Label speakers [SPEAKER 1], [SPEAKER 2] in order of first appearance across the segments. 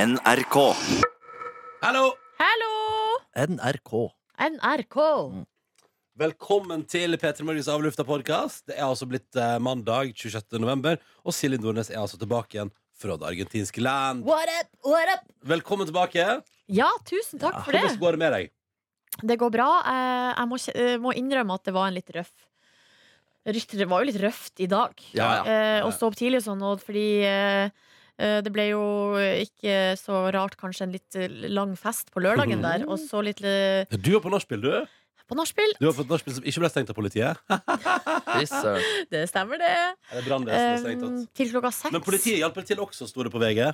[SPEAKER 1] NRK.
[SPEAKER 2] Hallo!
[SPEAKER 3] Hallo!
[SPEAKER 4] NRK.
[SPEAKER 3] NRK.
[SPEAKER 2] Velkommen til P3 Morgens avlufta podkast. Det er altså blitt eh, mandag 26. november, og Silje Nordnes er altså tilbake igjen fra det argentinske land.
[SPEAKER 3] What up, what up?
[SPEAKER 2] Velkommen tilbake.
[SPEAKER 3] Ja, tusen takk for
[SPEAKER 2] Hvordan
[SPEAKER 3] det.
[SPEAKER 2] går det med deg?
[SPEAKER 3] Det går bra. Eh, Jeg må, kje- eh, må innrømme at det var en litt røff Rykt- Det var jo litt røft i dag
[SPEAKER 2] Ja, ja.
[SPEAKER 3] Eh, å stå opp tidlig og sånn, og fordi eh, eh, det ble jo ikke så rart kanskje en litt eh, lang fest på lørdagen der, og så litt eh,
[SPEAKER 2] Du er på nachspiel, du.
[SPEAKER 3] på nachspiel.
[SPEAKER 2] Du har fått nachspiel som ikke ble stengt av politiet.
[SPEAKER 4] Fy søren.
[SPEAKER 3] Det stemmer, det.
[SPEAKER 2] Eller brannvesenet stengt
[SPEAKER 3] Eh,
[SPEAKER 2] av.
[SPEAKER 3] til klokka seks.
[SPEAKER 2] Men politiet hjalp til også, sto det på VG.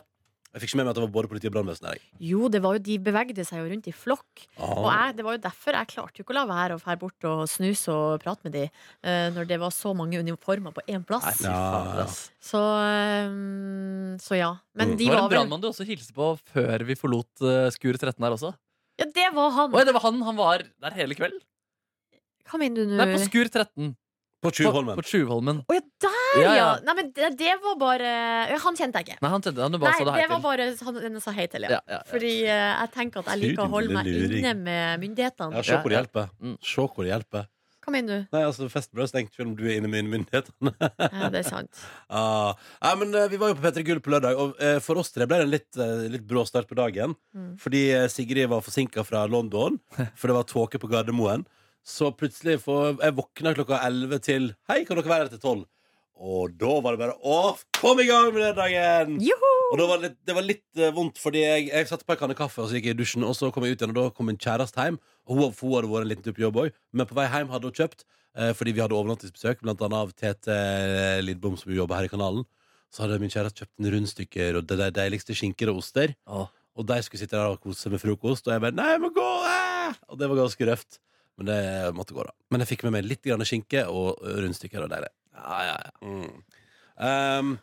[SPEAKER 2] Jeg fikk ikke med meg at det var både politi og brannvesen der. jeg. Ah.
[SPEAKER 3] Jo, det var jo, de bevegde seg jo rundt i flokk. Og jeg, det var jo derfor jeg klarte jo ikke å la være å fære bort og snuse og prate med de eh, når det var så mange uniformer på én
[SPEAKER 4] Nei,
[SPEAKER 3] plass.
[SPEAKER 4] fy
[SPEAKER 2] Ja.
[SPEAKER 4] fader, ass.
[SPEAKER 3] Så, eh, så ja. Men
[SPEAKER 2] Mm.
[SPEAKER 3] de
[SPEAKER 4] Det var
[SPEAKER 3] var
[SPEAKER 4] en
[SPEAKER 3] vel
[SPEAKER 4] brannmann du også hilste på før vi forlot eh, skur 13 her også.
[SPEAKER 3] Ja, det var han!
[SPEAKER 4] Oi, det var han. Han var der hele kvelden.
[SPEAKER 3] Hva mener du nå?
[SPEAKER 4] Nei, på skur 13.
[SPEAKER 2] På
[SPEAKER 4] På,
[SPEAKER 2] Tjuvholmen.
[SPEAKER 4] på Tjuvholmen.
[SPEAKER 3] Å ja, der, ja!
[SPEAKER 4] Ja, ja.
[SPEAKER 3] Nei, men det, det var bare ja, Han kjente jeg ikke.
[SPEAKER 4] Nei, han kjente han du
[SPEAKER 3] Nei,
[SPEAKER 4] bare sa det
[SPEAKER 3] det
[SPEAKER 4] her
[SPEAKER 3] var
[SPEAKER 4] til.
[SPEAKER 3] bare han den jeg sa hei til, ja.
[SPEAKER 4] Ja, ja, ja.
[SPEAKER 3] Fordi eh, jeg tenker at jeg liker å holde meg
[SPEAKER 2] Luring.
[SPEAKER 3] inne med
[SPEAKER 2] Ja,
[SPEAKER 3] myndighetene.
[SPEAKER 2] se hvor det
[SPEAKER 4] Ja, ja.
[SPEAKER 2] hjelper.
[SPEAKER 4] Mm.
[SPEAKER 2] Se hvor det hjelper.
[SPEAKER 3] Hva mener du?
[SPEAKER 2] Nei, altså, festen ble stengt selv om du er inne med myndighetene.
[SPEAKER 3] Ja, Eh, det er sant.
[SPEAKER 2] Ah, nei, men eh, Vi var jo på P3 Gull på lørdag, og eh, for oss tre ble det en litt, eh, litt brå start på dagen.
[SPEAKER 3] Mm.
[SPEAKER 2] Fordi eh, Sigrid var forsinka fra London, for det var tåke på Gardermoen. Så plutselig får jeg våkna klokka 11 til Hei, kan dere være her til 12? Og da var det bare Å, kom i gang med den dagen!
[SPEAKER 3] Joho!
[SPEAKER 2] Og da var det, litt- det var litt eh, vondt, fordi jeg, jeg satte på en kanne kaffe og så gikk jeg i dusjen. Og så kom jeg ut igjen, og da kom min kjæreste hjem. Og hun, for hun hadde vært en liten tur på jobb òg, men på vei hjem hadde hun kjøpt. Eh, fordi vi hadde overnattingsbesøk, blant annet av Tete Lidbom, som jobber her i kanalen. Så hadde min kjæreste kjøpt en rundstykker og de de deiligste skinker og oster.
[SPEAKER 4] Å.
[SPEAKER 2] Og de skulle sitte der og kose seg med frokost, og jeg bare 'nei, jeg må gå'. eh!» Og det var ganske røft. Men det måtte gå, da. Men jeg fikk med meg litt grann skinke og eh, rundstykker. og deilig. Ja, ja, ja. Mm. Um,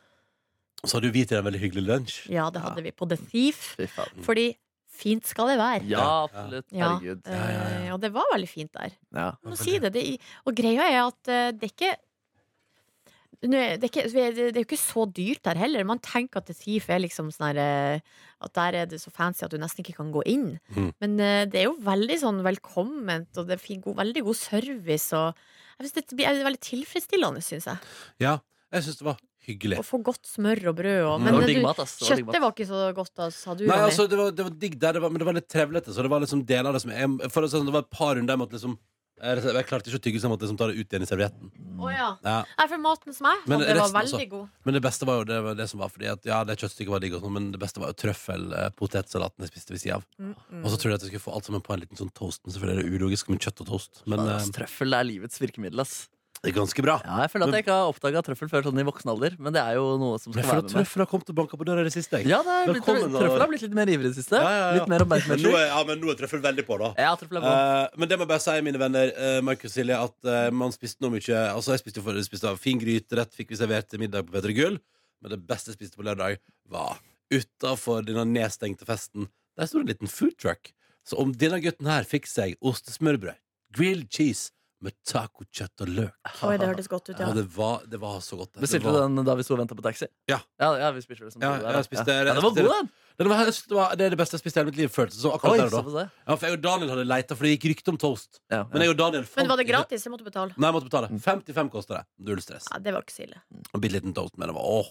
[SPEAKER 2] så hadde jo vi til en veldig hyggelig lunsj.
[SPEAKER 3] Ja, det hadde vi på The Thief.
[SPEAKER 4] Fy faen.
[SPEAKER 3] Fordi fint skal det være.
[SPEAKER 4] Ja, absolutt.
[SPEAKER 3] Ja,
[SPEAKER 4] Herregud.
[SPEAKER 3] eh,
[SPEAKER 2] Ja, ja, ja.
[SPEAKER 3] og det var veldig fint der.
[SPEAKER 4] Ja.
[SPEAKER 3] Jeg Må si det. det og greia er at eh, det er ikke Nå er- det er, ikke, det er jo ikke så dyrt der heller. Man tenker at The Thief er liksom sånn her eh, At der er det så fancy at du nesten ikke kan gå inn.
[SPEAKER 2] Mm.
[SPEAKER 3] Men eh, det er jo veldig sånn velkomment, og det er fin, god, veldig god service. Og jeg synes det blir det er veldig tilfredsstillende, syns jeg.
[SPEAKER 2] Ja, jeg syns det var hyggelig.
[SPEAKER 3] Å få godt smør og brød og
[SPEAKER 2] Mm.
[SPEAKER 4] Det
[SPEAKER 3] Men
[SPEAKER 4] var
[SPEAKER 3] eh,
[SPEAKER 4] digg
[SPEAKER 3] du,
[SPEAKER 4] mat, ass. Det var digg mat.
[SPEAKER 3] kjøttet var ikke så godt, da, sa du.
[SPEAKER 2] Nei,
[SPEAKER 3] Ronny.
[SPEAKER 2] altså, det var, det var digg der, det var, men det var litt trevlete. Så det var liksom deler av det som jeg, for det, sånn, det var et par runder jeg måtte liksom jeg, jeg klarte ikke å tygge så jeg måtte liksom ta det ut igjen i servietten.
[SPEAKER 3] Å ja.
[SPEAKER 2] Ja.
[SPEAKER 3] Nei, for maten som jeg
[SPEAKER 2] Men
[SPEAKER 3] hadde, var
[SPEAKER 2] resten,
[SPEAKER 3] veldig
[SPEAKER 2] altså.
[SPEAKER 3] god.
[SPEAKER 2] Men det beste var jo det, var det som var fordi at Ja, det kjøttstykket var digg, og sånn, men det beste var jo trøffelpotetsalaten jeg spiste ved sida av.
[SPEAKER 3] Mm,
[SPEAKER 2] Og
[SPEAKER 4] Mm.
[SPEAKER 2] så trodde jeg at jeg skulle få alt sammen på en liten sånn toast, men selvfølgelig er det ulogisk med kjøtt og toast. Men
[SPEAKER 4] Fader,
[SPEAKER 2] eh,
[SPEAKER 4] ass, Trøffel er livets virkemiddel, ass.
[SPEAKER 2] det er ganske bra.
[SPEAKER 4] Ja, jeg føler at jeg ikke har oppdaga trøffel før sånn i voksen alder, men det er jo noe som
[SPEAKER 2] Men
[SPEAKER 4] skal
[SPEAKER 2] jeg føler
[SPEAKER 4] være
[SPEAKER 2] at
[SPEAKER 4] med meg.
[SPEAKER 2] trøffel har kommet og banka på døra i det siste. jeg.
[SPEAKER 4] Ja, det er blitt,
[SPEAKER 2] Velkommen, da.
[SPEAKER 4] trøffel har blitt litt mer ivrig i det siste.
[SPEAKER 2] Ja, ja, ja.
[SPEAKER 4] Litt mer
[SPEAKER 2] Men nå
[SPEAKER 4] oppmerksomhet.
[SPEAKER 2] er, ja, men nå er trøffel veldig på, da.
[SPEAKER 4] Ja, trøffel er på.
[SPEAKER 2] Eh, men det må jeg bare si, mine venner, eh, Markus og Silje, at eh, man spiste noe mye Altså, jeg spiste, jo for, spiste av fin gryterett, fikk vi servert til middag på Petter Gull, men det beste jeg spiste på lørdag, var utafor denne nedstengte festen. Der sto det en liten food truck. Så om denne gutten her fikk seg ostesmørbrød, grilled cheese med tacokjøtt og løk
[SPEAKER 3] Oi, det hørtes godt ut, ja.
[SPEAKER 2] Og det var, det var så godt. det. Det
[SPEAKER 4] Bestilte
[SPEAKER 2] var-
[SPEAKER 4] du den da vi sto og venta på taxi?
[SPEAKER 2] Ja.
[SPEAKER 4] Ja, ja vi spiste vel som
[SPEAKER 2] Ja,
[SPEAKER 4] det
[SPEAKER 2] jeg
[SPEAKER 4] da.
[SPEAKER 2] spiste-
[SPEAKER 4] ja. ja, Den var
[SPEAKER 2] jeg
[SPEAKER 4] god, den!
[SPEAKER 2] Det, var, det, var, det er det beste jeg spiste i hele mitt liv, føltes det som.
[SPEAKER 4] Oi,
[SPEAKER 2] akkurat der
[SPEAKER 4] så
[SPEAKER 2] og da.
[SPEAKER 4] få se.
[SPEAKER 2] Ja, for jeg og Daniel hadde leita, for det gikk rykte om toast.
[SPEAKER 4] Ja,
[SPEAKER 2] Men
[SPEAKER 4] ja.
[SPEAKER 2] jeg og Daniel fant
[SPEAKER 3] Men var det
[SPEAKER 2] ikke-
[SPEAKER 3] gratis? Jeg måtte betale.
[SPEAKER 2] Nei, jeg måtte betale. 55 koster det. Null stress.
[SPEAKER 3] Ja, det var ikke så ille.
[SPEAKER 2] En bitte liten toast, men det var åh.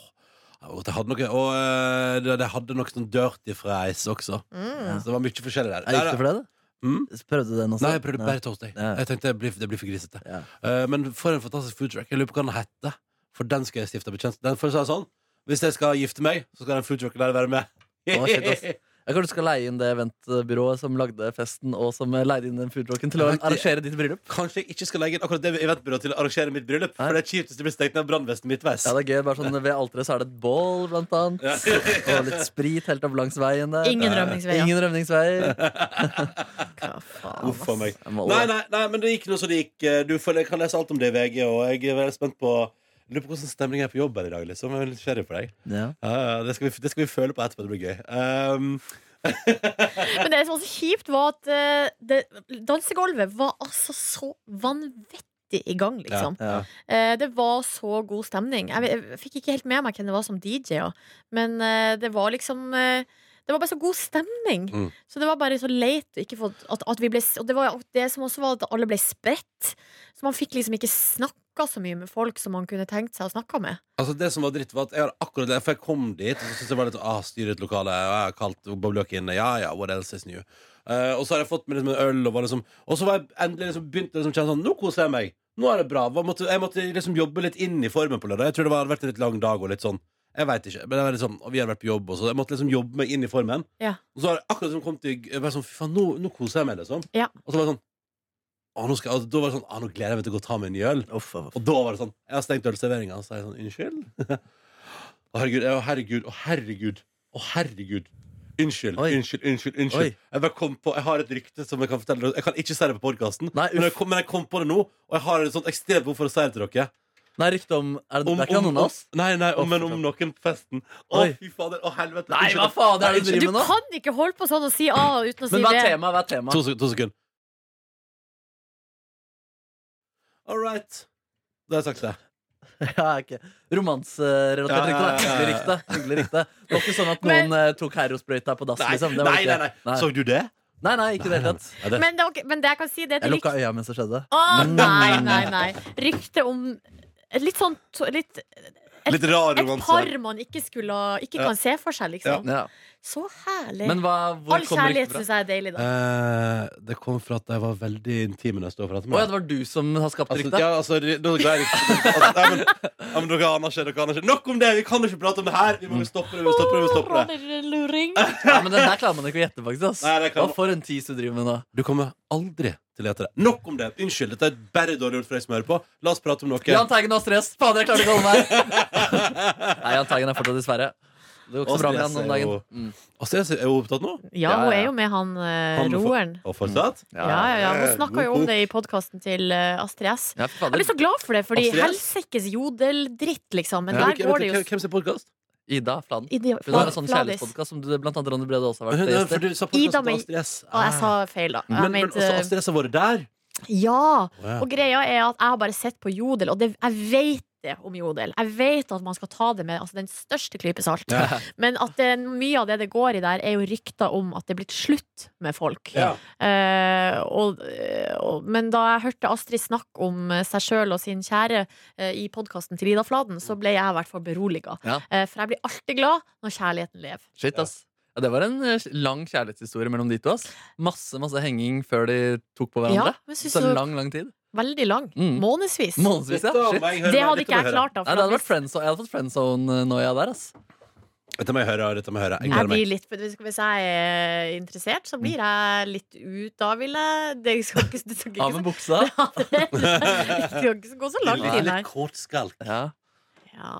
[SPEAKER 2] det var godt. Jeg hadde noe, og eh, det- det hadde noe sånn dirty fries også. Så det var mye forskjellig der.
[SPEAKER 4] Ja, Gikk det for deg,
[SPEAKER 2] Mm?
[SPEAKER 4] da? Prøvde du den også?
[SPEAKER 2] Nei, jeg prøvde bare toast. Jeg,
[SPEAKER 4] Ja.
[SPEAKER 2] jeg tenkte det blir, det blir for grisete.
[SPEAKER 4] Ja.
[SPEAKER 2] Eh, men for en fantastisk food truck. Jeg lurer på hva den heter. For den skal jeg stifte bekjentskap Den for å si det sånn Hvis jeg skal gifte meg, så skal den food trucken der være med.
[SPEAKER 4] Å, shit, ass. Jeg kanskje du skal leie inn det eventbyrået som lagde festen, og som eh, leide inn den foodrocken til å
[SPEAKER 2] Jeg vet ikke.
[SPEAKER 4] arrangere ditt bryllup.
[SPEAKER 2] Kanskje jeg ikke skal legge inn akkurat det eventbyrået til å arrangere mitt bryllup. For det er kjipt hvis det blir stengt ned brannvesten midtveis.
[SPEAKER 4] Ja, det er gøy, bare sånn Ved alteret så er det et bål, blant annet. Og litt sprit helt opp langs veien der.
[SPEAKER 3] Ingen rømningsveier.
[SPEAKER 4] Ingen rømningsveier.
[SPEAKER 3] Hva faen,
[SPEAKER 2] Uff a meg.
[SPEAKER 4] Jeg må-
[SPEAKER 2] Nei, nei, nei, men det gikk noe som det gikk. Eh, Du får, kan lese alt om det i VG, og jeg er veldig spent på Lurer på hvordan stemningen er på jobb her i dag. liksom Jeg er litt nysgjerrig på deg.
[SPEAKER 4] Ja.
[SPEAKER 2] Ja, ja, det, skal vi, det skal vi føle på etterpå. Det blir gøy. Ehm,
[SPEAKER 3] Men det som var så kjipt, var at eh, det, dansegulvet var altså så vanvittig i gang, liksom.
[SPEAKER 4] Ja.
[SPEAKER 3] Eh, det var så god stemning. Jeg, jeg fikk ikke helt med meg hvem det var som DJ-a, men eh, det var liksom eh, Det var bare så god stemning.
[SPEAKER 2] Mm.
[SPEAKER 3] Så det var bare så leit å ikke få at, at vi ble Og det, var, det som også var at alle ble spredt. Så man fikk liksom ikke snakka så mye med folk som man kunne tenkt seg å snakke med.
[SPEAKER 2] Altså Det som var dritt, var at jeg har akkurat det. For jeg kom dit, og så syntes jeg var litt ah, styret lokale. Og jeg har kalt bobløk inne. Ja, ja, what else is new? Eh, og så har jeg fått meg liksom en øl, og, var liksom, og så var jeg endelig liksom begynt å liksom kjenne sånn Nå koser jeg meg. Nå er det bra. Hva måtte, jeg måtte liksom jobbe litt inn i formen på lørdag. Jeg tror det var- hadde vært en litt lang dag og litt sånn. Jeg vet ikke. Men det var litt sånn, og vi hadde vært på jobb, og så jeg måtte liksom jobbe meg inn i formen.
[SPEAKER 3] Ja.
[SPEAKER 2] Og så har jeg akkurat liksom kommet til jeg bare sånn, Fy faen, nå, nå koser jeg meg, liksom.
[SPEAKER 3] Ja.
[SPEAKER 2] Og så var det sånn «Å, nå skal, jeg- og Da var det sånn «Å, Nå gleder jeg meg til å gå og ta meg en ny øl.
[SPEAKER 4] Uff, uff, uff.
[SPEAKER 2] Og da var det sånn Jeg har stengt ølserveringa. Så er jeg sånn Unnskyld? Å, herregud. Å, herregud. Å, herregud. Å, herregud. Unnskyld,
[SPEAKER 4] Oi.
[SPEAKER 2] unnskyld, unnskyld. unnskyld
[SPEAKER 4] Oi.
[SPEAKER 2] Jeg bare kom på, jeg har et rykte som jeg kan fortelle dere. Jeg kan ikke si det på podkasten,
[SPEAKER 4] Nei, uff.
[SPEAKER 2] men, jeg kom- men jeg kom på det nå. Og jeg har et sånt ekstremt behov for å si det til dere.
[SPEAKER 4] Nei, rykte om Er det, det er ikke
[SPEAKER 2] om,
[SPEAKER 4] noen av oss?
[SPEAKER 2] nei, nei, om,
[SPEAKER 4] Å,
[SPEAKER 2] men
[SPEAKER 4] fy
[SPEAKER 2] om
[SPEAKER 4] faen.
[SPEAKER 2] noen på festen. Å,
[SPEAKER 4] Oi.
[SPEAKER 2] fy fader. Å, helvete.
[SPEAKER 4] Nei,
[SPEAKER 2] Unnskyld.
[SPEAKER 4] hva faen er det
[SPEAKER 2] Nei,
[SPEAKER 4] du
[SPEAKER 3] Du
[SPEAKER 4] driver med nå?
[SPEAKER 3] kan ikke holde på sånn og si A uten å si
[SPEAKER 4] Men hva
[SPEAKER 3] B.
[SPEAKER 4] er temaet? Hva er temaet?
[SPEAKER 2] To, sek- to sekunder. All right. Da har jeg sagt det.
[SPEAKER 4] Ja, ok. Romanserelatert
[SPEAKER 2] Ja, ja, ja, ja,
[SPEAKER 4] rykte. da.
[SPEAKER 2] ja.
[SPEAKER 4] Hyggelig rykte. Hyggelig rykte. Det var ikke sånn at
[SPEAKER 3] Men-
[SPEAKER 4] noen eh, tok herosprøyta på dass,
[SPEAKER 2] Nei,
[SPEAKER 4] liksom.
[SPEAKER 2] nei,
[SPEAKER 4] Det var
[SPEAKER 2] nei,
[SPEAKER 4] ikke-
[SPEAKER 2] nei. Så du det?
[SPEAKER 4] nei, nei, ikke i det hele tatt.
[SPEAKER 2] Ja, det-
[SPEAKER 3] Men det, er ok- men det jeg kan si, det er
[SPEAKER 4] Jeg
[SPEAKER 3] til
[SPEAKER 4] lukka øya mens det skjedde.
[SPEAKER 3] Å, nei, nei, nei. Rykte om et litt sånn to- litt,
[SPEAKER 2] Litt rar
[SPEAKER 3] Et
[SPEAKER 2] romanse.
[SPEAKER 3] par man ikke skulle Ikke
[SPEAKER 2] Ja.
[SPEAKER 3] kan se for seg, liksom.
[SPEAKER 4] Ja.
[SPEAKER 3] Så herlig.
[SPEAKER 4] Men hva, hvor
[SPEAKER 3] All
[SPEAKER 4] kommer ryktet
[SPEAKER 3] kjærlighet
[SPEAKER 4] fra?
[SPEAKER 3] syns jeg er deilig, da.
[SPEAKER 2] Eh, det kom fra at jeg var veldig intim når jeg stod og pratet
[SPEAKER 4] Å ja,
[SPEAKER 2] med
[SPEAKER 4] det var du som har skapt
[SPEAKER 2] Altså,
[SPEAKER 4] ryktet?
[SPEAKER 2] ja, altså, det- nå ga jeg riktig- altså, nei, men, ja, men Dere aner ikke. dere aner ikke Nok om det! Vi kan ikke prate om det her! Vi må stoppe det. vi må stoppe det, vi må stoppe det
[SPEAKER 3] Luring.
[SPEAKER 4] Ja, men den der klarer man ikke å gjette, faktisk. Ass.
[SPEAKER 2] Nei, det kan
[SPEAKER 4] Hva for en tis du driver med nå?
[SPEAKER 2] Du kommer aldri til å hete det. Nok om det! Unnskyld. Dette er bare dårlig gjort for deg som hører på. La oss prate om noe.
[SPEAKER 4] Jahn Teigen har stress! Fader, jeg klarer ikke å holde meg! Nei, Jahn Teigen er fortsatt i Sverige. Det går ikke
[SPEAKER 2] Og
[SPEAKER 4] så bra med
[SPEAKER 2] stress
[SPEAKER 4] han om
[SPEAKER 2] er
[SPEAKER 4] dagen.
[SPEAKER 2] jo-
[SPEAKER 4] Mm.
[SPEAKER 2] Altså, jeg er jo opptatt nå.
[SPEAKER 3] Ja,
[SPEAKER 4] Ja,
[SPEAKER 3] hun
[SPEAKER 4] ja.
[SPEAKER 3] er jo med han eh,
[SPEAKER 2] Han må få-
[SPEAKER 3] roeren.
[SPEAKER 2] Og fortsatt.
[SPEAKER 3] Ja, ja, ja. Hun snakka jo om det i podkasten til eh, Astrid S.
[SPEAKER 4] Ja,
[SPEAKER 3] Jeg
[SPEAKER 4] fader.
[SPEAKER 3] blir så glad for det, fordi
[SPEAKER 2] Astrid S?
[SPEAKER 3] helsikes jodeldritt, liksom. Men
[SPEAKER 2] Ja,
[SPEAKER 3] der
[SPEAKER 2] men-
[SPEAKER 3] går det jo
[SPEAKER 2] hvem- Hvem sin podkast?
[SPEAKER 4] Ida Fladen.
[SPEAKER 3] Ida,
[SPEAKER 4] Hun har en sånn
[SPEAKER 3] Fladis.
[SPEAKER 4] kjærlighetspodkast som du, blant annet Ronny Brede også har vært
[SPEAKER 2] Hun-
[SPEAKER 4] gjest
[SPEAKER 2] for
[SPEAKER 4] i.
[SPEAKER 2] du sa
[SPEAKER 3] Ida
[SPEAKER 2] podkasten til
[SPEAKER 3] May-
[SPEAKER 2] Astrid S. Ah.
[SPEAKER 3] Å, jeg sa feil, da. Jeg
[SPEAKER 2] Men, men
[SPEAKER 3] mente-
[SPEAKER 2] altså, Astrid S har vært der.
[SPEAKER 3] Ja!
[SPEAKER 2] Å, ja.
[SPEAKER 3] Og greia er at jeg har bare sett på Jodel, og det, jeg vet det om Jodel. Jeg vet at man skal ta det med altså, den største klype salt.
[SPEAKER 2] Ja.
[SPEAKER 3] Men at det, mye av det det går i der, er jo rykter om at det er blitt slutt med folk.
[SPEAKER 2] Ja.
[SPEAKER 3] Eh, og, eh, og, men da jeg hørte Astrid snakke om eh, seg sjøl og sin kjære eh, i podkasten til Ida Fladen, så ble jeg i hvert fall beroliga.
[SPEAKER 4] Ja.
[SPEAKER 3] Eh, for jeg blir alltid glad når kjærligheten lever.
[SPEAKER 4] Shit, ass. Ja, det var en eh, lang kjærlighetshistorie mellom de to. ass Masse masse henging før de tok på
[SPEAKER 3] Ja,
[SPEAKER 4] hverandre.
[SPEAKER 3] men jeg synes
[SPEAKER 4] Så
[SPEAKER 3] jo-
[SPEAKER 4] lang, lang tid.
[SPEAKER 3] Veldig lang.
[SPEAKER 4] Mm.
[SPEAKER 3] Månedsvis.
[SPEAKER 4] Månedsvis, ja.
[SPEAKER 2] Dette
[SPEAKER 4] Shit.
[SPEAKER 2] må jeg høre
[SPEAKER 3] det
[SPEAKER 2] mer.
[SPEAKER 3] hadde
[SPEAKER 2] Dette
[SPEAKER 3] ikke
[SPEAKER 2] må
[SPEAKER 3] jeg
[SPEAKER 2] høre.
[SPEAKER 3] klart. da for
[SPEAKER 4] Nei, det
[SPEAKER 3] at
[SPEAKER 4] hadde vært friendzone, jeg hadde fått friendzone-noia der. ass
[SPEAKER 2] Dette må jeg høre. Dette må jeg høre. Jeg
[SPEAKER 3] Jeg
[SPEAKER 2] gleder meg.
[SPEAKER 3] blir litt, hvis jeg er interessert, så blir jeg litt ut. Da vil jeg Det skal ikke, det skal
[SPEAKER 4] Av med
[SPEAKER 3] ikke,
[SPEAKER 4] buksa.
[SPEAKER 3] det skal ikke gå så langt inn her.
[SPEAKER 2] kort skalk.
[SPEAKER 4] Ja,
[SPEAKER 3] Ja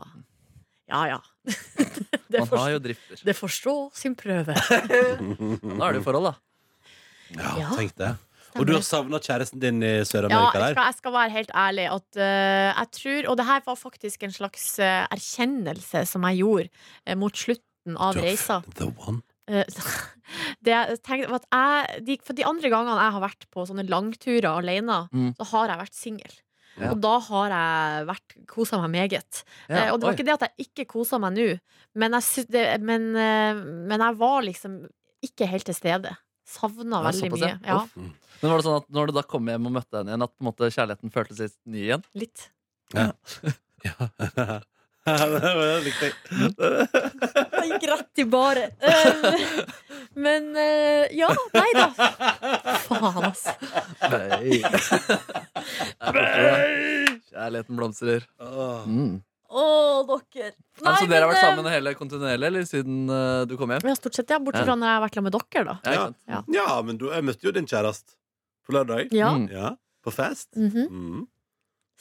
[SPEAKER 3] ja. ja. Det,
[SPEAKER 4] Man har
[SPEAKER 3] forstår,
[SPEAKER 4] jo drifter.
[SPEAKER 3] det Mm. forstå sin prøve.
[SPEAKER 4] Nå er det jo forhold, da.
[SPEAKER 2] Ja,
[SPEAKER 3] Ja.
[SPEAKER 2] tenk det. Og du har savna kjæresten din i Sør-Amerika
[SPEAKER 3] Ja, jeg
[SPEAKER 2] der?
[SPEAKER 3] skal, jeg skal være helt ærlig at eh, jeg tror Og det her var faktisk en slags eh, erkjennelse som jeg gjorde eh, mot slutten av
[SPEAKER 2] Du har
[SPEAKER 3] reisa.
[SPEAKER 2] funnet The one.
[SPEAKER 3] Eh, det jeg tenkte var at jeg, de, For de andre gangene jeg har vært på sånne langturer alene,
[SPEAKER 4] Mm.
[SPEAKER 3] så har jeg vært singel.
[SPEAKER 4] Ja.
[SPEAKER 3] Og da har jeg vært kosa meg meget.
[SPEAKER 4] Ja,
[SPEAKER 3] Eh, og det var
[SPEAKER 4] oi.
[SPEAKER 3] ikke det at jeg ikke kosa meg nå, men jeg, sy- det, men, eh, men jeg var liksom ikke helt til stede. Savna
[SPEAKER 4] Ja,
[SPEAKER 3] veldig
[SPEAKER 4] såpass,
[SPEAKER 3] mye.
[SPEAKER 4] ja.
[SPEAKER 3] Ja,
[SPEAKER 4] Uff. Men var det sånn at når du da kom hjem og møtte henne igjen, at på en måte kjærligheten føltes litt ny igjen?
[SPEAKER 3] litt.
[SPEAKER 2] Ja. det likte jeg.
[SPEAKER 3] Jeg gikk rett i bare. Eh, men eh, ja, nei da. Faen, altså.
[SPEAKER 4] Kjærligheten blomstrer.
[SPEAKER 2] Åh.
[SPEAKER 4] Mm.
[SPEAKER 3] Å, dere.
[SPEAKER 4] Nei, så dere har vært
[SPEAKER 3] eh,
[SPEAKER 4] sammen hele kontinuerlig, eller siden eh, du kom hjem?
[SPEAKER 3] Ja, stort sett, ja. Bortsett
[SPEAKER 4] Ja.
[SPEAKER 3] fra når jeg har vært sammen med dere, da.
[SPEAKER 4] Ja, ikke sant?
[SPEAKER 3] Ja.
[SPEAKER 2] Ja, men du, jeg møtte jo din kjæreste på lørdag.
[SPEAKER 3] Ja,
[SPEAKER 4] Mm.
[SPEAKER 2] Ja, På fest.
[SPEAKER 3] mhm.
[SPEAKER 2] Mm.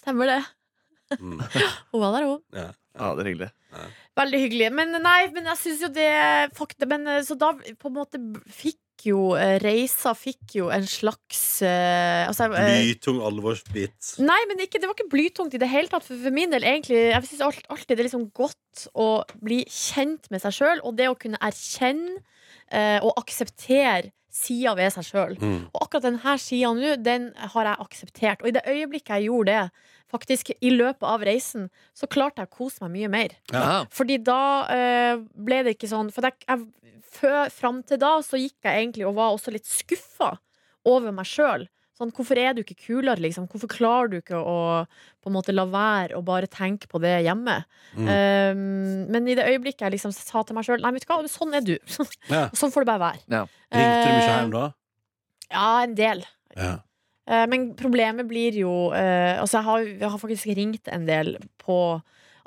[SPEAKER 3] stemmer det.
[SPEAKER 2] Mm.
[SPEAKER 3] Hun var der, hun.
[SPEAKER 2] Ja.
[SPEAKER 4] ja, det er hyggelig.
[SPEAKER 3] Veldig hyggelig. Men nei, men jeg syns jo det fakta, men, eh, Så da på en måte b- fikk jo eh, reisa fikk jo en slags eh, altså, eh,
[SPEAKER 2] Blytung alvorsbit.
[SPEAKER 3] Nei, men ikke, det var ikke blytungt i det hele tatt. For, for min del, egentlig, jeg syns alt, alltid det er liksom godt å bli kjent med seg sjøl, og det å kunne erkjenne eh, og akseptere sida ved seg sjøl.
[SPEAKER 2] Mm.
[SPEAKER 3] Og akkurat denne sida nå, den har jeg akseptert. Og i det øyeblikket jeg gjorde det, faktisk i løpet av reisen, så klarte jeg å kose meg mye mer.
[SPEAKER 2] Ja.
[SPEAKER 3] Fordi da eh, ble det ikke sånn For jeg, jeg, før, fram til da så gikk jeg egentlig og var også litt skuffa over meg sjøl. Sånn, hvorfor er du ikke kulere, liksom? Hvorfor klarer du ikke å på en måte la være å bare tenke på det hjemme?
[SPEAKER 2] Mm.
[SPEAKER 3] Eh, men i det øyeblikket jeg liksom sa til meg sjøl Nei, vet du hva, sånn er du.
[SPEAKER 2] Ja.
[SPEAKER 3] sånn får det bare være.
[SPEAKER 4] Ja.
[SPEAKER 2] Ringte du mye
[SPEAKER 3] Eh,
[SPEAKER 2] hjem da?
[SPEAKER 3] Ja, en del.
[SPEAKER 2] Ja.
[SPEAKER 3] Eh, Men problemet blir jo eh, Altså, jeg har, jeg har faktisk ringt en del på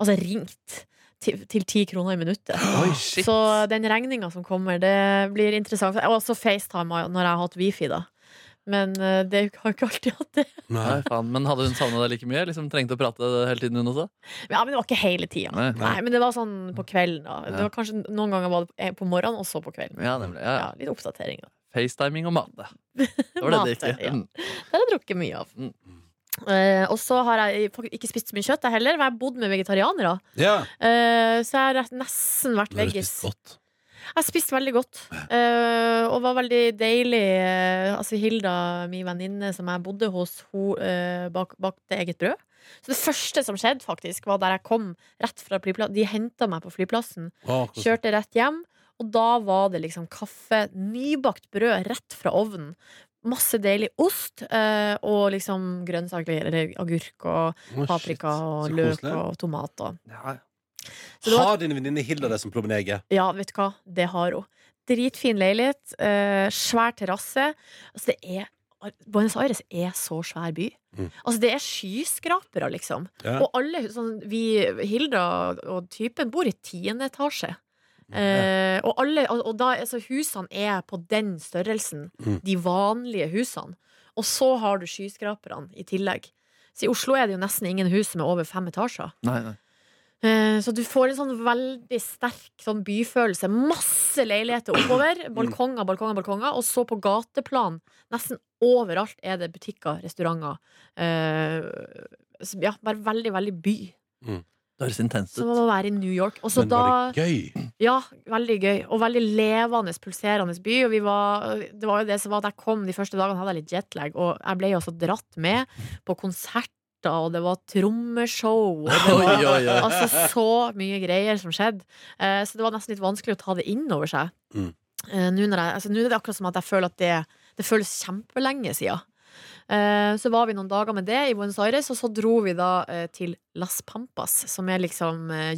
[SPEAKER 3] Altså ringt til til ti kroner i minuttet.
[SPEAKER 4] Oi, Ah, shit.
[SPEAKER 3] Så den regninga som kommer, det blir interessant. Og også FaceTime når jeg har hatt wifi, da. Men eh, det har jo ikke alltid hatt det.
[SPEAKER 2] Nei.
[SPEAKER 4] Nei, faen. Men hadde hun savna deg like mye? Liksom Trengte å prate hele tiden, hun også?
[SPEAKER 3] Ja, men det var ikke hele tida.
[SPEAKER 4] Nei,
[SPEAKER 3] Nei, men det var sånn på kvelden, da. Det
[SPEAKER 4] Ja.
[SPEAKER 3] var kanskje Noen ganger var det eh, på morgenen, og så på kvelden.
[SPEAKER 4] Ja, nemlig. Ja.
[SPEAKER 3] Ja, litt oppdatering, da.
[SPEAKER 4] FaceTiming og mat. da. Det var det det
[SPEAKER 3] Mat,
[SPEAKER 4] gikk i.
[SPEAKER 3] ja.
[SPEAKER 4] Mm.
[SPEAKER 3] Det har jeg drukket mye av.
[SPEAKER 4] Mm.
[SPEAKER 3] Eh, og så har jeg faktisk ikke spist så mye kjøtt, jeg heller. Men jeg har bodd med vegetarianere.
[SPEAKER 2] Ja.
[SPEAKER 3] Eh, så jeg har rett- nesten vært
[SPEAKER 2] Men har du
[SPEAKER 3] veggis.
[SPEAKER 2] spist godt?
[SPEAKER 3] Jeg spiste veldig godt. eh, og var veldig deilig. eh, altså Hilda, min venninne som jeg bodde hos, hun eh, bak, bakte eget brød. Så det første som skjedde, faktisk var der jeg kom rett fra flyplassen. De henta meg på flyplassen,
[SPEAKER 2] Å, hvordan-
[SPEAKER 3] kjørte rett hjem, og da var det liksom kaffe, nybakt brød rett fra ovnen. Masse deilig ost eh, og liksom grønnsaker, eller agurk og
[SPEAKER 2] Å, shit.
[SPEAKER 3] paprika og
[SPEAKER 2] Så
[SPEAKER 3] løk
[SPEAKER 2] koselig.
[SPEAKER 3] og tomat og
[SPEAKER 4] Ja.
[SPEAKER 3] Så det var-
[SPEAKER 2] Har din venninne Hilda det som promenege?
[SPEAKER 3] Ja, vet du hva? Det har hun. Dritfin leilighet, eh, svær terrasse. Altså, det er Buenos Aires er så svær by.
[SPEAKER 2] Mm.
[SPEAKER 3] Altså, det er skyskrapere, liksom.
[SPEAKER 2] Ja.
[SPEAKER 3] Og alle sånn, vi, Hilda og typen, bor i tiende etasje.
[SPEAKER 2] Mm,
[SPEAKER 3] Eh, og, alle, og, og da, altså, husene er på den størrelsen.
[SPEAKER 2] Mm.
[SPEAKER 3] De vanlige husene. Og så har du skyskraperne i tillegg. Så i Oslo er det jo nesten ingen hus som er over fem etasjer.
[SPEAKER 4] Nei, nei.
[SPEAKER 3] Eh, Så du får en sånn veldig sterk sånn byfølelse. Masse leiligheter oppover.
[SPEAKER 2] Mm.
[SPEAKER 3] Balkonger, balkonger, balkonger. Og så på gateplan, nesten overalt, er det butikker, restauranter. Eh, så ja, bare veldig, veldig by.
[SPEAKER 4] Det høres intenst
[SPEAKER 3] Som
[SPEAKER 4] ut.
[SPEAKER 3] å være i New York. Og så
[SPEAKER 2] Men
[SPEAKER 3] da
[SPEAKER 2] var det gøy?
[SPEAKER 3] Ja, veldig gøy. Og veldig levende, pulserende by. Og vi var, det var jo det som var at jeg kom de første dagene, hadde jeg litt jetlag, og jeg ble jo også dratt med på konserter, og det var trommeshow, og det
[SPEAKER 4] Oi,
[SPEAKER 3] var
[SPEAKER 4] oi, oi.
[SPEAKER 3] Altså så mye greier som skjedde. Eh, så det var nesten litt vanskelig å ta det inn over seg.
[SPEAKER 2] Mm.
[SPEAKER 3] Eh, Nå når jeg- altså, nå er det akkurat som at jeg føler at det, det føles kjempelenge siden. Eh, så var vi noen dager med det i Buenos Aires, og så dro vi da eh, til Las Pampas, som er liksom eh,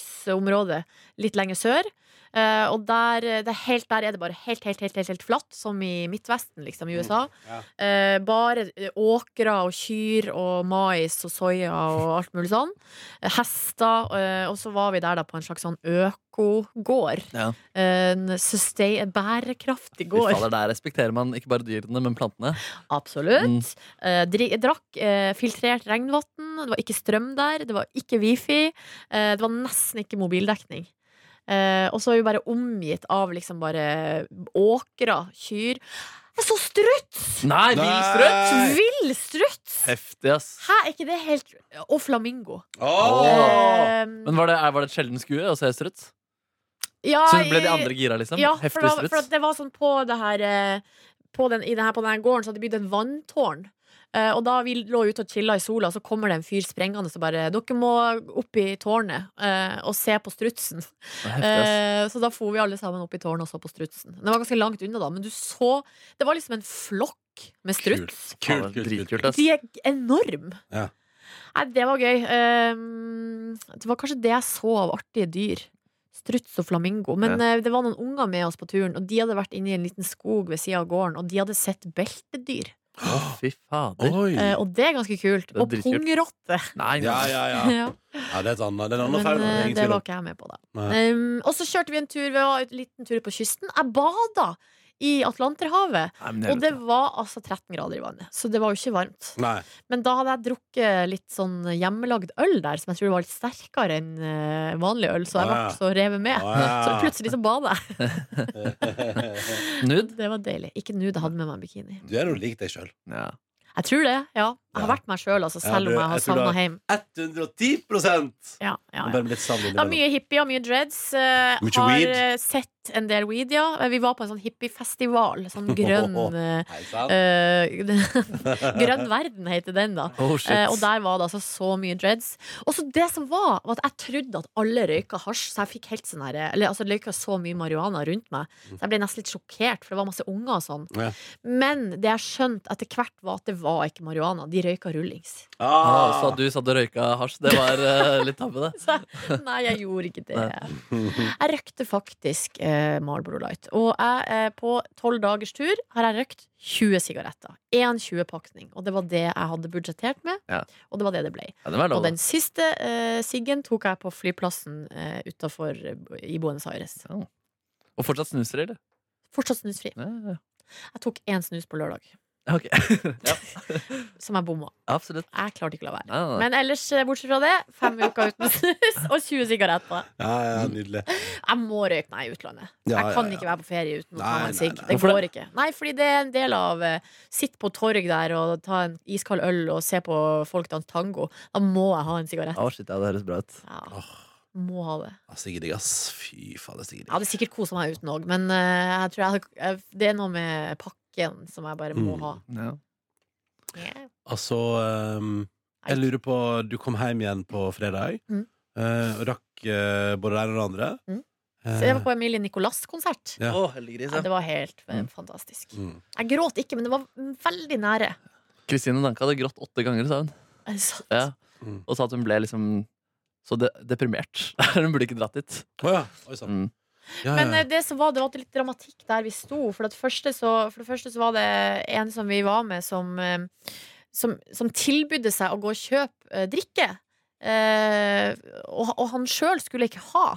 [SPEAKER 3] jordbruksområdet litt lenger sør. Eh, og der, eh, det er helt, der er det bare helt, helt, helt, helt, helt flatt, som i Midtvesten, liksom, i USA.
[SPEAKER 2] Ja.
[SPEAKER 3] Eh, bare eh, åkre og kyr og mais og soya og alt mulig sånn. Eh, Hester. eh, Og så var vi der da på en slags sånn økogård.
[SPEAKER 4] Ja.
[SPEAKER 3] En sustain, en bærekraftig
[SPEAKER 4] Fy
[SPEAKER 3] gård.
[SPEAKER 4] fader, der respekterer man ikke bare dyrene, men plantene.
[SPEAKER 3] Absolutt.
[SPEAKER 4] Mm.
[SPEAKER 3] Eh, dri- Jeg drakk eh, filtrert regnvann. Det var ikke strøm der. Det var ikke wifi. Eh, det var nesten ikke mobildekning. Eh, og så er vi bare omgitt av liksom bare åkrer, kyr. Jeg så struts!
[SPEAKER 4] Nei, villstrøtt!
[SPEAKER 2] Nei.
[SPEAKER 3] Vill struts!
[SPEAKER 4] Heftig, ass.
[SPEAKER 3] Hæ, er ikke det helt Og flamingo.
[SPEAKER 2] Åh!
[SPEAKER 3] Eh,
[SPEAKER 4] Men var det, er- var det et sjelden skue å se struts?
[SPEAKER 3] ja,
[SPEAKER 4] Så ble de
[SPEAKER 3] i-
[SPEAKER 4] andre gira, liksom?
[SPEAKER 3] Ja, for,
[SPEAKER 4] Heftig
[SPEAKER 3] da, for at
[SPEAKER 4] struts?
[SPEAKER 3] det var sånn på det her eh, på den, I det her, på den her gården så hadde de bygd en vanntårn. Eh, og da vi lå ute og chilla i sola, så kommer det en fyr sprengende og bare 'Dere må opp i tårnet eh, og se på strutsen'.
[SPEAKER 4] Heftig, ass.
[SPEAKER 3] Eh, så da for vi alle sammen opp i tårnet og så på strutsen. Det var ganske langt unna, da, men du så Det var liksom en flokk med struts.
[SPEAKER 2] Kult, kult, kult.
[SPEAKER 4] Dritkult, ass.
[SPEAKER 3] De er enorme.
[SPEAKER 2] Ja.
[SPEAKER 3] Nei, det var gøy. Ehm, det var kanskje det jeg så av artige dyr. Struts og flamingo. Men eh, det var noen unger med oss på turen, og de hadde vært inne i en liten skog ved sida av gården, og de hadde sett beltedyr.
[SPEAKER 2] Åh,
[SPEAKER 4] Fy fader.
[SPEAKER 2] Oi!
[SPEAKER 3] Eh, og det er ganske kult.
[SPEAKER 4] er
[SPEAKER 3] Og
[SPEAKER 4] dritkult.
[SPEAKER 3] pungrotte.
[SPEAKER 4] Nei,
[SPEAKER 2] Ja,
[SPEAKER 4] nei.
[SPEAKER 2] ja, ja.
[SPEAKER 3] Ja.
[SPEAKER 2] ja det er et annet, det er en annen
[SPEAKER 3] Men
[SPEAKER 2] feil.
[SPEAKER 3] eh,
[SPEAKER 2] Ingen
[SPEAKER 3] det
[SPEAKER 2] tvil
[SPEAKER 3] var
[SPEAKER 2] om.
[SPEAKER 3] ikke jeg med på, da.
[SPEAKER 2] Nei.
[SPEAKER 3] Ehm, og så kjørte vi en tur, vi var en liten tur på kysten. Jeg bada i Atlanterhavet,
[SPEAKER 4] Nei, men
[SPEAKER 3] og det
[SPEAKER 4] helvete.
[SPEAKER 3] var altså 13 grader i vannet, så det var jo ikke varmt.
[SPEAKER 2] Nei.
[SPEAKER 3] Men da hadde jeg drukket litt sånn hjemmelagd øl der, som jeg tror var litt sterkere enn eh, vanlig øl, så jeg ble
[SPEAKER 2] Ah, ja.
[SPEAKER 3] så revet med. Så
[SPEAKER 2] Ah,
[SPEAKER 3] plutselig så bada jeg.
[SPEAKER 4] Nude?
[SPEAKER 3] Det var deilig. Ikke nå det hadde med meg bikini.
[SPEAKER 2] Du er jo lik deg sjøl.
[SPEAKER 4] Ja.
[SPEAKER 3] Jeg tror det, ja. Jeg har
[SPEAKER 2] Ja.
[SPEAKER 3] vært meg sjøl, altså, selv
[SPEAKER 2] Ja, du-
[SPEAKER 3] om jeg har
[SPEAKER 2] jeg tror du
[SPEAKER 3] savna
[SPEAKER 2] har-
[SPEAKER 3] hjem.
[SPEAKER 2] 110
[SPEAKER 3] Ja, ja,
[SPEAKER 2] Og
[SPEAKER 3] ja.
[SPEAKER 2] Bare med litt sand
[SPEAKER 3] Det er
[SPEAKER 2] innimellom.
[SPEAKER 3] mye hippie og mye dreads. eh,
[SPEAKER 2] Mye
[SPEAKER 3] har
[SPEAKER 2] weed.
[SPEAKER 3] eh, sett en del weed, ja. Vi var på en sånn hippiefestival. Sånn grønn eh,
[SPEAKER 2] Hei sann.
[SPEAKER 3] eh, Grønn verden heter den, da.
[SPEAKER 4] Oh, shit.
[SPEAKER 3] Eh, og der var det altså så mye dreads. Og så det som var, var at jeg trodde at alle røyka hasj, så jeg fikk helt sånn her Eller altså, det røyka så mye marihuana rundt meg, så jeg ble nesten litt sjokkert, for det var masse unger og sånn.
[SPEAKER 2] Ja.
[SPEAKER 3] Men det jeg skjønte etter hvert, var at det var ikke marihuana. De røyka rullings.
[SPEAKER 4] ah, så at du satt og røyka hasj, det var eh, litt tabbe, det.
[SPEAKER 3] Så, jeg- nei, jeg gjorde ikke det. Jeg røykte faktisk eh, Marlboro Light. Og jeg, eh, på tolv dagers tur har jeg røykt 20 sigaretter. Én 20-pakning. Og det var det jeg hadde budsjettert med,
[SPEAKER 4] Ja.
[SPEAKER 3] og det var det det ble.
[SPEAKER 4] Ja, det var
[SPEAKER 3] Og
[SPEAKER 4] lov.
[SPEAKER 3] den siste eh, siggen tok jeg på flyplassen eh, utafor eh, i Buenos Aires.
[SPEAKER 4] da. Ja. Og fortsatt snuser, eller?
[SPEAKER 3] Fortsatt snusfri.
[SPEAKER 4] Ja, ja.
[SPEAKER 3] Jeg tok én snus på lørdag,
[SPEAKER 4] Ja, ok. ja,
[SPEAKER 3] som jeg bomma.
[SPEAKER 4] absolutt.
[SPEAKER 3] Jeg klarte ikke å la være.
[SPEAKER 4] Nei, nei, nei.
[SPEAKER 3] Men ellers, eh, bortsett fra det, fem uker uten snus og 20 sigaretter.
[SPEAKER 2] Ja, ja, nydelig.
[SPEAKER 3] Jeg må røyke meg i utlandet.
[SPEAKER 2] Ja, ja,
[SPEAKER 3] jeg kan
[SPEAKER 2] ja.
[SPEAKER 3] ikke være på ferie uten å ta
[SPEAKER 2] Nei,
[SPEAKER 3] meg en
[SPEAKER 2] nei,
[SPEAKER 3] sigg.
[SPEAKER 2] nei.
[SPEAKER 3] Det
[SPEAKER 4] Hvorfor
[SPEAKER 3] går ikke. Nei, fordi det er en del av eh, Sitt på torg der og ta en iskald øl og se på folk danse tango. Da må jeg ha en sigarett.
[SPEAKER 4] Å, shit, ja, det høres bra ut.
[SPEAKER 3] Ja,
[SPEAKER 2] Åh,
[SPEAKER 3] må ha det.
[SPEAKER 2] altså, digg, digg, ass. Fy faen, det er digg,
[SPEAKER 3] Jeg
[SPEAKER 2] digg.
[SPEAKER 3] hadde sikkert kosa meg uten òg, men eh, jeg tror jeg, hadde- jeg, det er noe med pakken som jeg bare må
[SPEAKER 2] Mm.
[SPEAKER 3] ha.
[SPEAKER 4] Ja.
[SPEAKER 3] Yeah.
[SPEAKER 2] Altså, ehm, jeg lurer på Du kom hjem igjen på fredag.
[SPEAKER 3] Mm.
[SPEAKER 2] eh, og rakk eh, både det ene og det andre.
[SPEAKER 3] Mm.
[SPEAKER 2] Eh,
[SPEAKER 3] Så jeg var på Emilie Nicolas-konsert.
[SPEAKER 2] Ja.
[SPEAKER 4] Å, heldiggris,
[SPEAKER 3] Ja, det
[SPEAKER 4] ja.
[SPEAKER 3] var helt eh,
[SPEAKER 4] Mm.
[SPEAKER 3] fantastisk.
[SPEAKER 2] mm.
[SPEAKER 3] Jeg gråt ikke, men det var veldig nære.
[SPEAKER 4] Kristine Danke hadde grått åtte ganger, sa hun.
[SPEAKER 3] Er det sant?
[SPEAKER 4] Ja.
[SPEAKER 2] Mm.
[SPEAKER 4] Og sa at hun ble liksom så de deprimert. hun burde ikke dratt dit.
[SPEAKER 2] Å ja. Oi sann.
[SPEAKER 4] Mm.
[SPEAKER 2] Ja,
[SPEAKER 3] Men
[SPEAKER 2] ja.
[SPEAKER 3] eh, det som var, det var litt dramatikk der vi sto. For det første så, for det første så var det en som vi var med, som, eh, som, som tilbydde seg å gå og kjøpe eh, drikke. Eh, og, og han sjøl skulle ikke ha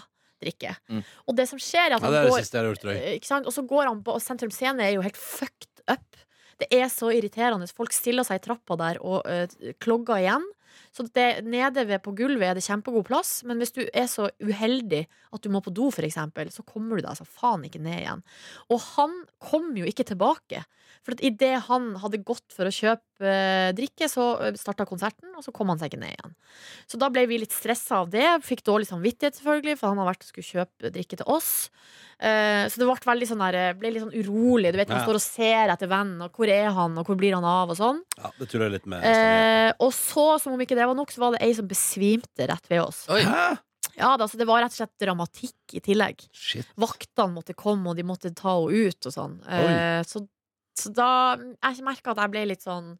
[SPEAKER 3] drikke.
[SPEAKER 4] Mm.
[SPEAKER 3] Og det som skjer, er
[SPEAKER 2] ja,
[SPEAKER 3] at han
[SPEAKER 2] det er det
[SPEAKER 3] går
[SPEAKER 2] siste jeg har gjort, tror jeg.
[SPEAKER 3] Eh, Ikke sant? Og så går han på og Sentrum Scene er jo helt fucked up. Det er så irriterende. Folk stiller seg i trappa der og eh, klogger igjen. Så det, nede ved på gulvet er det kjempegod plass, men hvis du er så uheldig at du må på do, for eksempel, så kommer du deg altså faen ikke ned igjen. Og han kom jo ikke tilbake. For at idet han hadde gått for å kjøpe eh, drikke, så starta konserten, og så kom han seg ikke ned igjen. Så da ble vi litt stressa av det. Fikk dårlig samvittighet, selvfølgelig, for han har vært og skulle kjøpe drikke til oss. Eh, så det ble, veldig sånn der, ble litt sånn urolig. Du vet, Man
[SPEAKER 2] Ja.
[SPEAKER 3] står og ser etter vennen, og hvor er han, og hvor blir han av, og sånn.
[SPEAKER 2] Ja, det tuller jeg litt med.
[SPEAKER 3] Eh, og så, som om ikke det var nok, så var det ei som besvimte rett ved oss.
[SPEAKER 4] Oi.
[SPEAKER 2] Hæ?
[SPEAKER 3] Ja, da, så Det var rett og slett dramatikk i tillegg.
[SPEAKER 2] Shit.
[SPEAKER 3] Vaktene måtte komme, og de måtte ta henne ut og sånn. Eh, så, så da Jeg merka at jeg ble litt sånn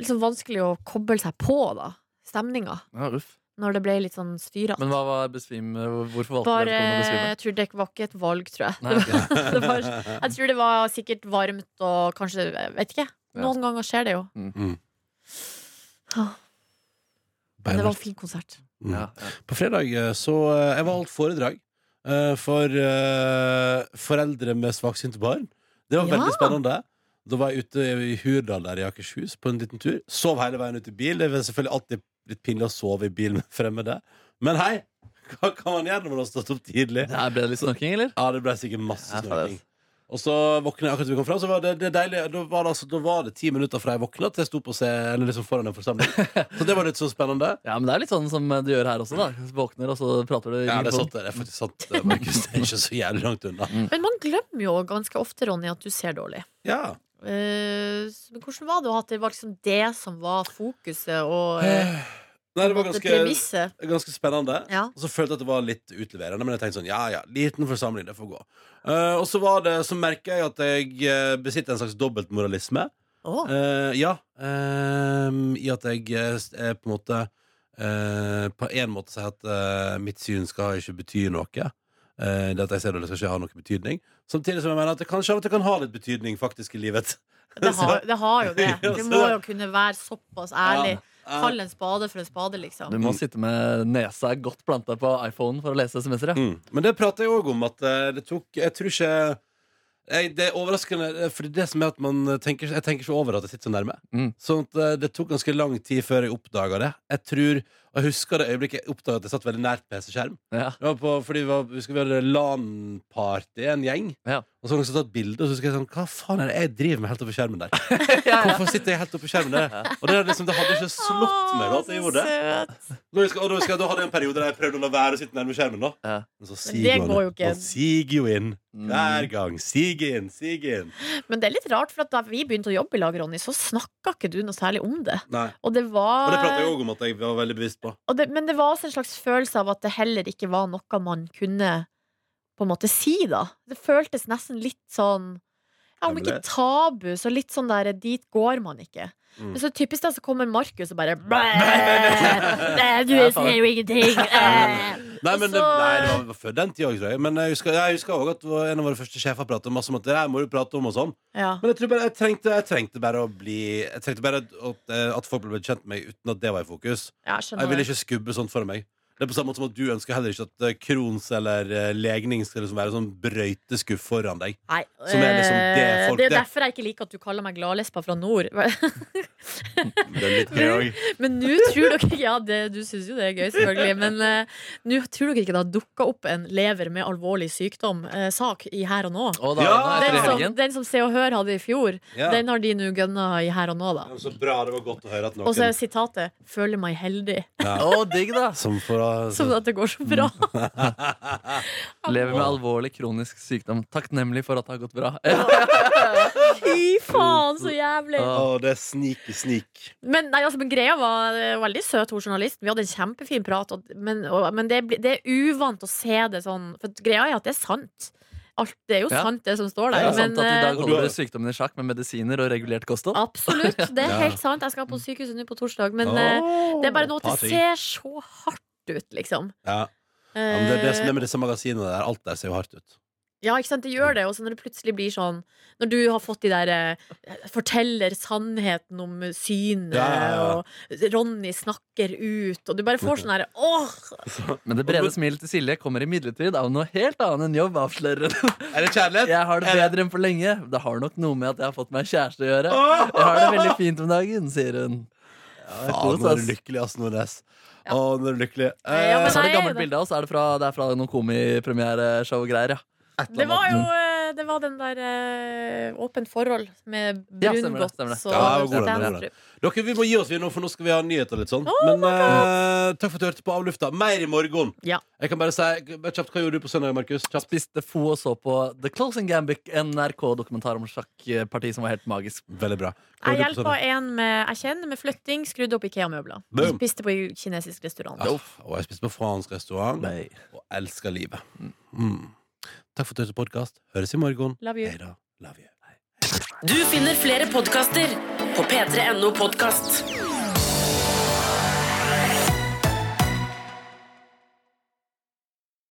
[SPEAKER 3] Litt sånn vanskelig å koble seg på, da. Stemninga.
[SPEAKER 4] Ja, uff.
[SPEAKER 3] Når det ble litt sånn styrete.
[SPEAKER 4] Men hva var besvim... eh, Hvorfor valgte
[SPEAKER 3] Bare
[SPEAKER 4] dere å besvime?
[SPEAKER 3] Jeg tror det var ikke et valg, tror jeg.
[SPEAKER 4] Nei,
[SPEAKER 3] Det
[SPEAKER 4] ok.
[SPEAKER 3] var, det var, jeg tror det var sikkert varmt og kanskje jeg Vet ikke.
[SPEAKER 4] Ja.
[SPEAKER 3] Noen ganger skjer det jo.
[SPEAKER 2] Mm.
[SPEAKER 3] Ah, Men det var en fin konsert.
[SPEAKER 2] Mm.
[SPEAKER 4] Ja, ja.
[SPEAKER 2] På fredag eh, så eh, Jeg var alt foredrag eh, for eh, foreldre med svaksynte barn. Det var
[SPEAKER 3] Ja.
[SPEAKER 2] veldig spennende. Da var jeg ute i Hurdal der i Akershus på en liten tur. Sov hele veien ut i bil. Det er selvfølgelig alltid litt pinlig å sove i bil med fremmede. Men hei! Hva kan man gjøre når man har stått opp tidlig?
[SPEAKER 4] Ja, ble det litt snorking, eller?
[SPEAKER 2] Ja, det ble sikkert masse
[SPEAKER 4] Ja,
[SPEAKER 2] snorking.
[SPEAKER 4] fader.
[SPEAKER 2] Og så våkna jeg akkurat da vi kom fram, så var det, det deilig. Da var det, altså, da var det ti minutter fra jeg våkna til jeg sto på se, eller liksom foran en forsamling. Så det var litt så spennende.
[SPEAKER 4] Ja, men det er litt sånn som du gjør her også, da. Våkner, og så prater du i
[SPEAKER 2] Ja, det er
[SPEAKER 4] mikrofonen.
[SPEAKER 2] sant. Det er faktisk sant, eh, Markus. Det er ikke så jævlig langt unna.
[SPEAKER 3] Men man glemmer jo ganske ofte, Ronny, at du ser dårlig.
[SPEAKER 2] Ja.
[SPEAKER 3] Eh, men hvordan var det å ha at det var liksom det som var fokuset og eh,
[SPEAKER 2] Nei, det var ganske,
[SPEAKER 3] premisset?
[SPEAKER 2] ganske spennende.
[SPEAKER 3] Ja.
[SPEAKER 2] Og så følte jeg at det var litt utleverende, men jeg tenkte sånn, ja ja, liten forsamling, det får gå. Eh, og så var det, så merker jeg at jeg eh, besitter en slags dobbeltmoralisme.
[SPEAKER 3] Åh.
[SPEAKER 2] Eh, ja. ehm, I at jeg eh, s- eh, på en måte eh, På en måte sier at eh, mitt syn skal ikke bety noe. Eh, det at jeg ser det, det skal ikke ha noen betydning. Samtidig som jeg mener at det kanskje av og til kan ha litt betydning faktisk i livet.
[SPEAKER 3] det, har, det har jo det.
[SPEAKER 2] Ja,
[SPEAKER 3] Du
[SPEAKER 2] så-
[SPEAKER 3] må jo kunne være såpass ærlig.
[SPEAKER 2] Ja,
[SPEAKER 3] Kall en spade for en spade, liksom.
[SPEAKER 4] Du må sitte med nesa godt planta på iPhonen for å lese SMS-er, ja.
[SPEAKER 2] Mm. Men det prater jeg òg om, at eh, det tok Jeg tror ikke jeg, Det er overraskende, eh, Fordi det som er at man eh, tenker Jeg tenker ikke over at jeg sitter så nærme.
[SPEAKER 4] Mm.
[SPEAKER 2] Sånn at eh, det tok ganske lang tid før jeg oppdaga det. Jeg tror Og jeg husker det øyeblikket jeg oppdaget at jeg satt veldig nært PC-skjerm.
[SPEAKER 4] Ja.
[SPEAKER 2] Det var på, fordi vi, var, vi skulle være LAN-party, en gjeng.
[SPEAKER 4] Ja.
[SPEAKER 2] Og så har noen som tatt bilde, og så husker jeg sånn Hva faen er det jeg driver med helt oppe i skjermen der?
[SPEAKER 4] ja.
[SPEAKER 2] Hvorfor sitter jeg helt oppe i skjermen der? Og det, er liksom, det hadde ikke slått meg da at jeg gjorde det.
[SPEAKER 3] det.
[SPEAKER 2] Nå husker, og da, husker jeg, da hadde jeg en periode der jeg prøvde å la være å sitte nærme skjermen, da.
[SPEAKER 4] Ja.
[SPEAKER 2] Men så
[SPEAKER 3] det
[SPEAKER 2] siger man
[SPEAKER 3] går jo ikke.
[SPEAKER 2] Man siger jo inn
[SPEAKER 4] Mm.
[SPEAKER 2] hver gang. Sig inn, sig inn.
[SPEAKER 3] Men det er litt rart, for at da vi begynte å jobbe i lag, Ronny, så snakka ikke du noe særlig om det.
[SPEAKER 2] Nei.
[SPEAKER 3] Og det var
[SPEAKER 2] Og det prater jeg òg om at jeg var veldig bevisst på.
[SPEAKER 3] og det, Men det var også en slags følelse av at det heller ikke var noe man kunne på en måte si, da. Det føltes nesten litt sånn ja, Om
[SPEAKER 2] Nemlig.
[SPEAKER 3] ikke tabu, så litt sånn der dit går man ikke.
[SPEAKER 2] Mm.
[SPEAKER 3] Men så typisk da, så kommer Markus og bare
[SPEAKER 2] nei,
[SPEAKER 3] "Bæ, Du
[SPEAKER 4] Ja, faen.
[SPEAKER 3] ser jo ingenting! eh."
[SPEAKER 2] Nei,
[SPEAKER 3] Og
[SPEAKER 2] men det,
[SPEAKER 3] så-
[SPEAKER 2] nei, det var- det var før den tida òg, tror jeg. Men jeg husker, jeg husker også at det var en av våre første sjefer pratet masse om at det her må du prate om og sånn.
[SPEAKER 3] Ja.
[SPEAKER 2] Men jeg tror bare jeg trengte, jeg trengte bare å bli Jeg trengte bare at, eh, at folk ble kjent med meg uten at det var i fokus.
[SPEAKER 3] ja, jeg skjønner
[SPEAKER 2] Jeg vil
[SPEAKER 3] det.
[SPEAKER 2] ikke skubbe sånt for meg. Det er på samme måte som at Du ønsker heller ikke at eh, Crohns eller eh, legning skal liksom være sånn brøyteskuff foran deg.
[SPEAKER 3] Nei,
[SPEAKER 2] Som er liksom det
[SPEAKER 3] eh,
[SPEAKER 2] folk-
[SPEAKER 3] det er jo
[SPEAKER 2] det-
[SPEAKER 3] derfor jeg ikke liker at du kaller meg gladlespa fra nord.
[SPEAKER 2] Det er litt gøy også.
[SPEAKER 3] Men nå tror dere Ja, det, du syns jo det er gøy, selvfølgelig. Men eh, nå tror dere ikke det har dukka opp en lever med alvorlig sykdom-sak i Her og nå?
[SPEAKER 4] Og da,
[SPEAKER 2] Ja,
[SPEAKER 4] da
[SPEAKER 2] det
[SPEAKER 4] etter
[SPEAKER 3] Den
[SPEAKER 2] er
[SPEAKER 3] som,
[SPEAKER 4] helgen
[SPEAKER 3] den som Se og Hør hadde i fjor,
[SPEAKER 2] Ja.
[SPEAKER 3] den har de nå gønna i Her og nå, da.
[SPEAKER 2] Ja, men Så bra. Det var godt å høre at
[SPEAKER 3] Og så er
[SPEAKER 2] noen
[SPEAKER 3] sitatet 'føler meg heldig',
[SPEAKER 4] Å, digg, da!
[SPEAKER 2] Som
[SPEAKER 4] Altså-
[SPEAKER 2] får sånn-
[SPEAKER 3] som at det går så bra.
[SPEAKER 4] Mm. Lever med alvorlig kronisk sykdom. Takknemlig for at det har gått bra.
[SPEAKER 3] Fy faen, så jævlig!
[SPEAKER 4] Ja.
[SPEAKER 2] Å, det er sneaky sneak.
[SPEAKER 3] Men, nei, altså, men greia var eh, veldig søt, hun journalisten. Vi hadde en kjempefin prat. Og, men og, men det, blir- det er uvant å se det sånn. For greia er at det er sant. Alt, det er jo
[SPEAKER 4] Ja.
[SPEAKER 3] sant, det som står
[SPEAKER 4] Det
[SPEAKER 3] der.
[SPEAKER 4] er sant
[SPEAKER 3] men
[SPEAKER 4] at i
[SPEAKER 3] eh,
[SPEAKER 4] dag holder dere sykdommen i sjakk med medisiner og regulert kosthold.
[SPEAKER 3] absolutt. Det er
[SPEAKER 2] Ja.
[SPEAKER 3] helt sant. Jeg skal på sykehuset nå på torsdag. Men eh, det er bare noe at det ser så hardt ut, liksom.
[SPEAKER 2] ja. Ja, men det er det som er med disse magasinene der. Alt der ser jo hardt ut.
[SPEAKER 3] Eh, Ja, ikke sant, det gjør det. Og så når det plutselig blir sånn Når du har fått de der eh, Forteller sannheten om synet,
[SPEAKER 2] Ja, ja,
[SPEAKER 3] og Ronny snakker ut, og du bare får sånn her Åh!
[SPEAKER 4] Men det brede smilet til Silje kommer imidlertid av noe helt annet enn jobb, avslører hun.
[SPEAKER 2] Er det kjærlighet?
[SPEAKER 4] Jeg har det bedre enn for lenge. Det har nok noe med at jeg har fått meg kjæreste å gjøre. Jeg har det veldig fint om dagen, sier hun.
[SPEAKER 2] Faen, nå er du lykkelig, ass, Nordnes. Å, nå er du lykkelig. Eh,
[SPEAKER 3] Ja, men
[SPEAKER 4] Så er det
[SPEAKER 3] nei,
[SPEAKER 4] et gammelt
[SPEAKER 3] det-
[SPEAKER 4] bilde av oss. Er det, fra, det er fra noen komipremiereshow-greier, ja.
[SPEAKER 3] Det var jo eh, det var den der eh, Åpent forhold med
[SPEAKER 4] Ja, stemmer det,
[SPEAKER 3] brungodt
[SPEAKER 4] stemmer det.
[SPEAKER 3] og
[SPEAKER 2] Ja, det var god, den, den,
[SPEAKER 3] Stenstrup.
[SPEAKER 2] Dere, Vi må gi oss, vi nå, for nå skal vi ha nyheter. litt sånn Men eh, takk for at du hørte på Avlufta. Mer i morgen.
[SPEAKER 3] Ja.
[SPEAKER 2] Jeg kan bare si, bare kjapt, Hva gjorde du på søndag, Markus? Kjapt.
[SPEAKER 4] Spiste fo og så på The Closing Gambic, NRK-dokumentar om sjakkparti som var helt magisk.
[SPEAKER 2] Veldig bra. Hva
[SPEAKER 3] Jeg
[SPEAKER 2] gjorde du på
[SPEAKER 3] hjelpa en med, jeg kjenner med flytting, skrudde opp Ikea-møbler.
[SPEAKER 2] Boom. Ah,
[SPEAKER 3] Spiste på kinesisk restaurant.
[SPEAKER 2] søndag? Ja, og jeg spiste på fransk restaurant
[SPEAKER 4] Nei.
[SPEAKER 2] og elsker livet. Mm. Takk for at du hørte på podkast. Høres i morgen.
[SPEAKER 3] Love you.
[SPEAKER 2] Hei da. Love you.
[SPEAKER 1] Du finner flere podkaster på p3.no podkast.